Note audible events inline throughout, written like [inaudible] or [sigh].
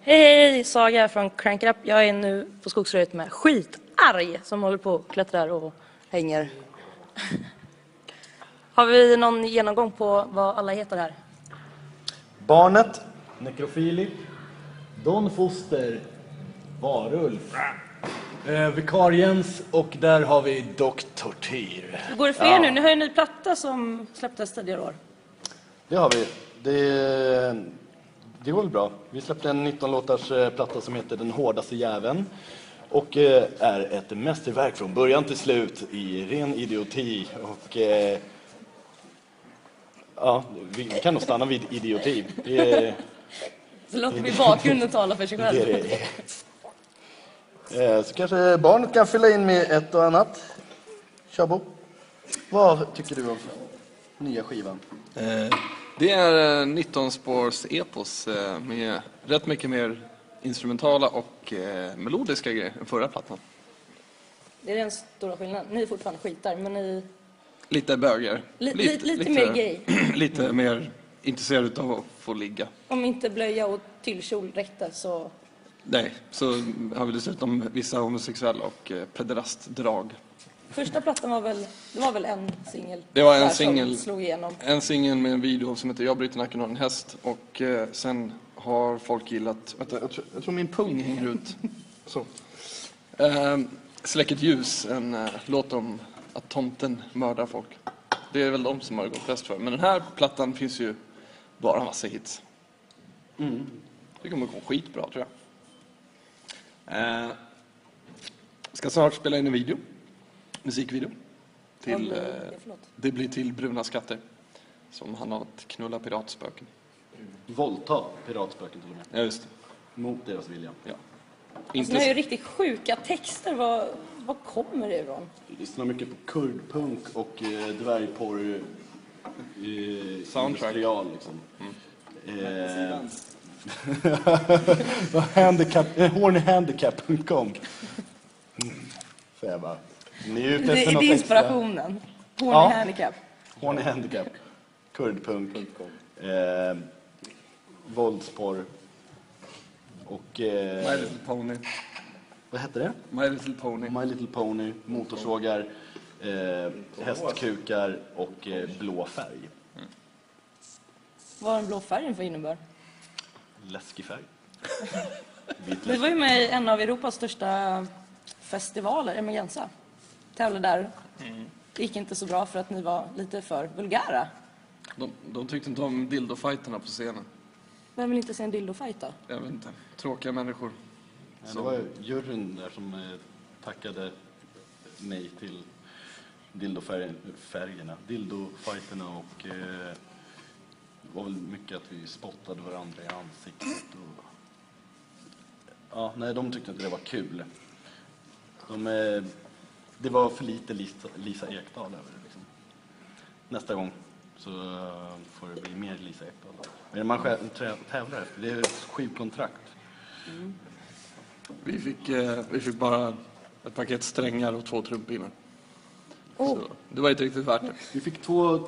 Hej, hej, det är Saga här från Crank It Up. Jag är nu på Skogsröret med Skitarg som håller på och klättrar och hänger. [laughs] Har vi någon genomgång på vad alla heter här? Barnet. Nekrofili. Don Foster. Varulf. Eh, Vikariens och där har vi Doc Tortyr. Hur går det för er nu? Ni har ju en ny platta som släpptes tidigare i år. Det har vi. Det, det går väl bra. Vi släppte en 19-låtars eh, platta som heter Den hårdaste jäveln och eh, är ett mästerverk från början till slut i ren idioti. Och, eh, ja, vi vi kan nog stanna vid idioti. Det är Så låter vi bakgrunden tala för sig det är själv. det är. Eh, Så kanske barnet kan fylla in med ett och annat. Tjabo, vad tycker du om nya skivan? Eh, Det är eh, 19 spårs epos eh, med rätt mycket mer instrumentala och eh, melodiska grejer än förra plattan. Det är den stora skillnaden. Ni är fortfarande skitar, men ni... Lite böger. Li- li- lite mer gay. [clears throat] Lite mer intresserad av att få ligga. Om inte blöja och tyllkjol räckte så... Nej, så har vi dessutom vissa homosexuella och eh, pederastdrag. Första plattan var väl... Det var väl en singel? Det var en där singel. Som slog igenom. En singel med en video som heter Jag bryter nacken av en häst och eh, sen har folk gillat, vänta, jag tror, jag tror min pung hänger ut. Så. Eh, Släck ett ljus, en eh, låt om att tomten mördar folk. Det är väl de som har gått bäst för. Men den här plattan finns ju bara massa hits. Mm. Det kommer gå skitbra tror jag. Eh, ska snart spela in en video, musikvideo. Vad Till, blir eh, det för låt? det blir till Bruna skatter. Som handlar om att knulla piratspöken. Våldta piratspöken till och med, Ja, just det. mot deras vilja. Ja. Alltså, ni har ju Inte... riktigt sjuka texter. Var, var kommer det ifrån? Vi lyssnar mycket på kurdpunk och eh, dvärgporr. Eh, Soundtrack. Industrial, liksom. Eh, [laughs] handicap, eh, hornyhandicap.com. Så jag bara, ni är ute Det, efter det är något extra. inspirationen. Horny Ja. handicap. Horny handicap. Kurdpunk. Eh, våldsporr. Och My eh, Little Pony. vad hette det? My Little Pony. My Little Pony, motorsågar, eh, hästkukar och eh, blå färg. Vad den blå färgen för innebär. Läskig färg. Vit Vi läsk. var ju med i en av Europas största festivaler, Emergenza. Tävlade där. Mm. Det gick inte så bra för att ni var lite för vulgära. De, de tyckte inte om dildofighterna på scenen. Vem vill inte se en dildofight då? Jag vet inte. Tråkiga människor. Ja, Det var ju juryn där som eh, tackade nej till dildofärgerna, dildofajterna och eh, det var väl mycket att vi spottade varandra i ansiktet. Och... Ja, nej, de tyckte inte det var kul. De, eh, det var för lite Lisa, Lisa Ekdahl över det. Liksom. Nästa gång så eh, får det bli mer Lisa Ekdahl. Vad är det man själv trä- tävlar efter? Det är skivkontrakt. Vi fick, eh, vi fick bara ett paket strängar och två trumpinnar. Oh. Så det var inte riktigt värt det. Vi fick två eh,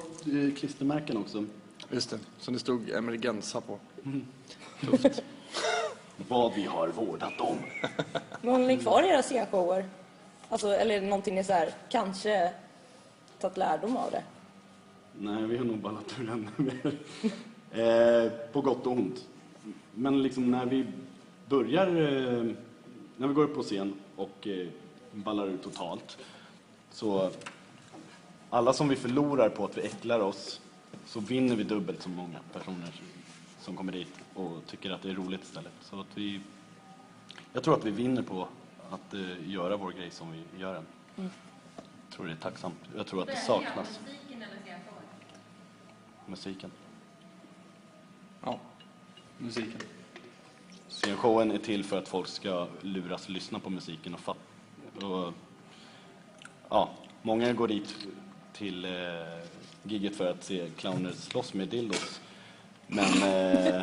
klistermärken också. Just det. Så det stod emergensa på. Vad vi har vårdat dem. Men håller ni kvar i era scenshower? Alltså, eller är det någonting ni så här, kanske tagit lärdom av det? Nej, vi har nog ballat ur ännu mer. [laughs] eh, på gott och ont. Men liksom när vi börjar, eh, när vi går upp på scen och eh, ballar ur totalt, så alla som vi förlorar på att vi äcklar oss, så vinner vi dubbelt så många personer som kommer dit och tycker att det är roligt istället. Så att vi, jag tror att vi vinner på att eh, göra vår grej som vi gör den. Jag tror det är tacksamt. Jag tror att det saknas. musiken. Ja. Musiken. Scenshowen är till för att folk ska luras lyssna på musiken och fatta. Och, ja, många går dit till eh, gigget för att se clowner slåss med dildos. Men eh,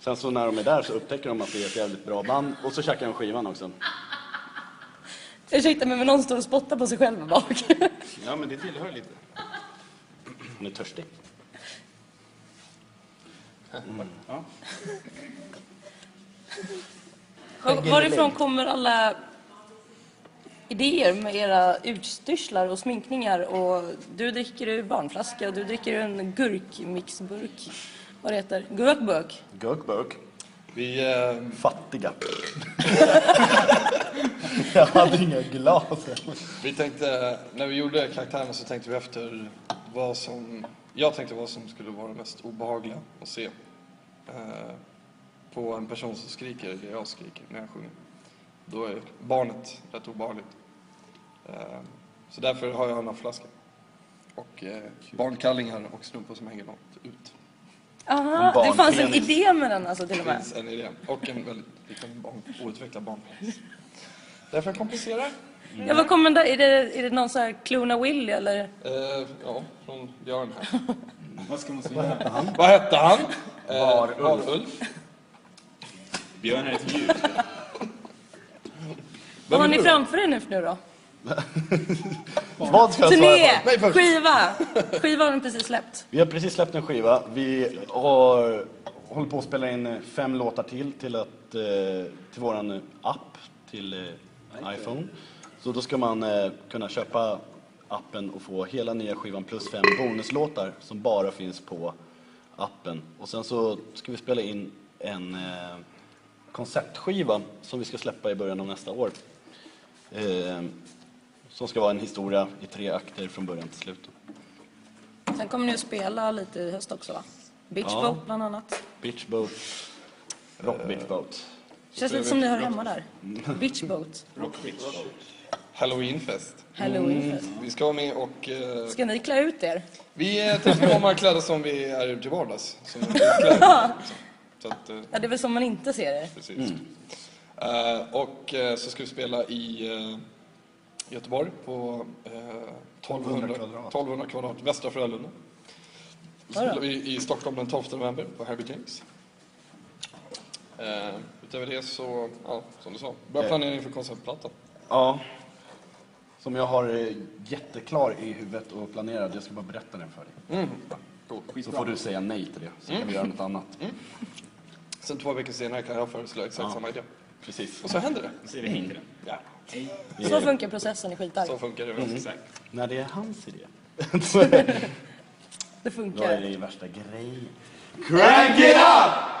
sen så när de är där så upptäcker de att det är ett jävligt bra band och så tjackar de skivan också. Ursäkta mig, men någon står och spottar på sig själv här bak. Ja, men det tillhör lite. Hon är törstig. Var, varifrån kommer alla idéer med era utstyrslar och sminkningar? Och du dricker ur barnflaska och du dricker ur en gurkmixburk. Vad det heter? Gurkburk. Gurkburk. Vi, eh, Fattiga. [laughs] jag hade inga glas. vi tänkte, när vi gjorde karaktärerna så tänkte vi efter vad som, jag tänkte vad som skulle vara det mest obehagliga att se eh, på en person som skriker eller jag skriker när jag sjunger. Då är barnet rätt obehagligt. Eh, så därför har jag en flaska och eh, barnkallingar och strumpor som hänger långt ut. Aha, En det fanns en barnpenis. idé med den alltså till och Det med. finns en idé och en väldigt liten barn, outvecklad barnpenis. Därför jag kompenserar. Ja, vad kommer där? Är det, är det någon sån här Clona Willy eller? Eh, ja, från Göran här. Vad ska man säga? Vad hette han? Eh, Varulf. Varulf. Björn är ett djur. Vad har är ni du? framför er nu för nu då? Vad ska jag Turné! svara på? Nej, först. Skiva! Skiva har ni precis släppt. Vi har precis släppt en skiva. Vi har, håller på att spela in eh, fem låtar till till, att, eh, till våran app till eh, iPhone. Så då ska man eh, kunna köpa appen och få hela nya skivan plus fem bonuslåtar som bara finns på appen. Och sen så ska vi spela in en eh, konceptskiva som vi ska släppa i början av nästa år. Eh, som ska vara en historia i tre akter från början till slut. Sen kommer ni att spela lite i höst också va? Beach Ja. Boat bland annat. Beach boat. Rock beach boat. Känns lite som ni hör hemma där. Beach Boat. Halloweenfest. Halloweenfest. Vi ska vara med och... Eh, Ska ni klä ut er? vi eh, tänkte komma klädda som vi är till vardags. Som vi kläder. Så att, eh, Ja, det är väl som man inte ser er. precis. Eh, och eh, så ska vi spela i eh, Göteborg på eh, 1200, kvadrat. 1200 kvadrat, Västra Frölunda. Så spelar vi i Stockholm den 12 november på Herbie James. Eh, utöver det så, ja, som du sa, börja planera inför konceptplattan. Ja. Som jag har eh, jätteklar i huvudet och planerad. Jag ska bara berätta den för dig. Så får du säga nej till det, så kan vi göra något annat. Sen två veckor senare kan jag föreslå exakt samma idé. Precis. Och så händer det. Så är vi hängde den. Ja, Så funkar processen i så skitarg. funkar det. Exakt. När det är hans idé. så är Det då är det funkar. ju värsta grejen. Crank it up!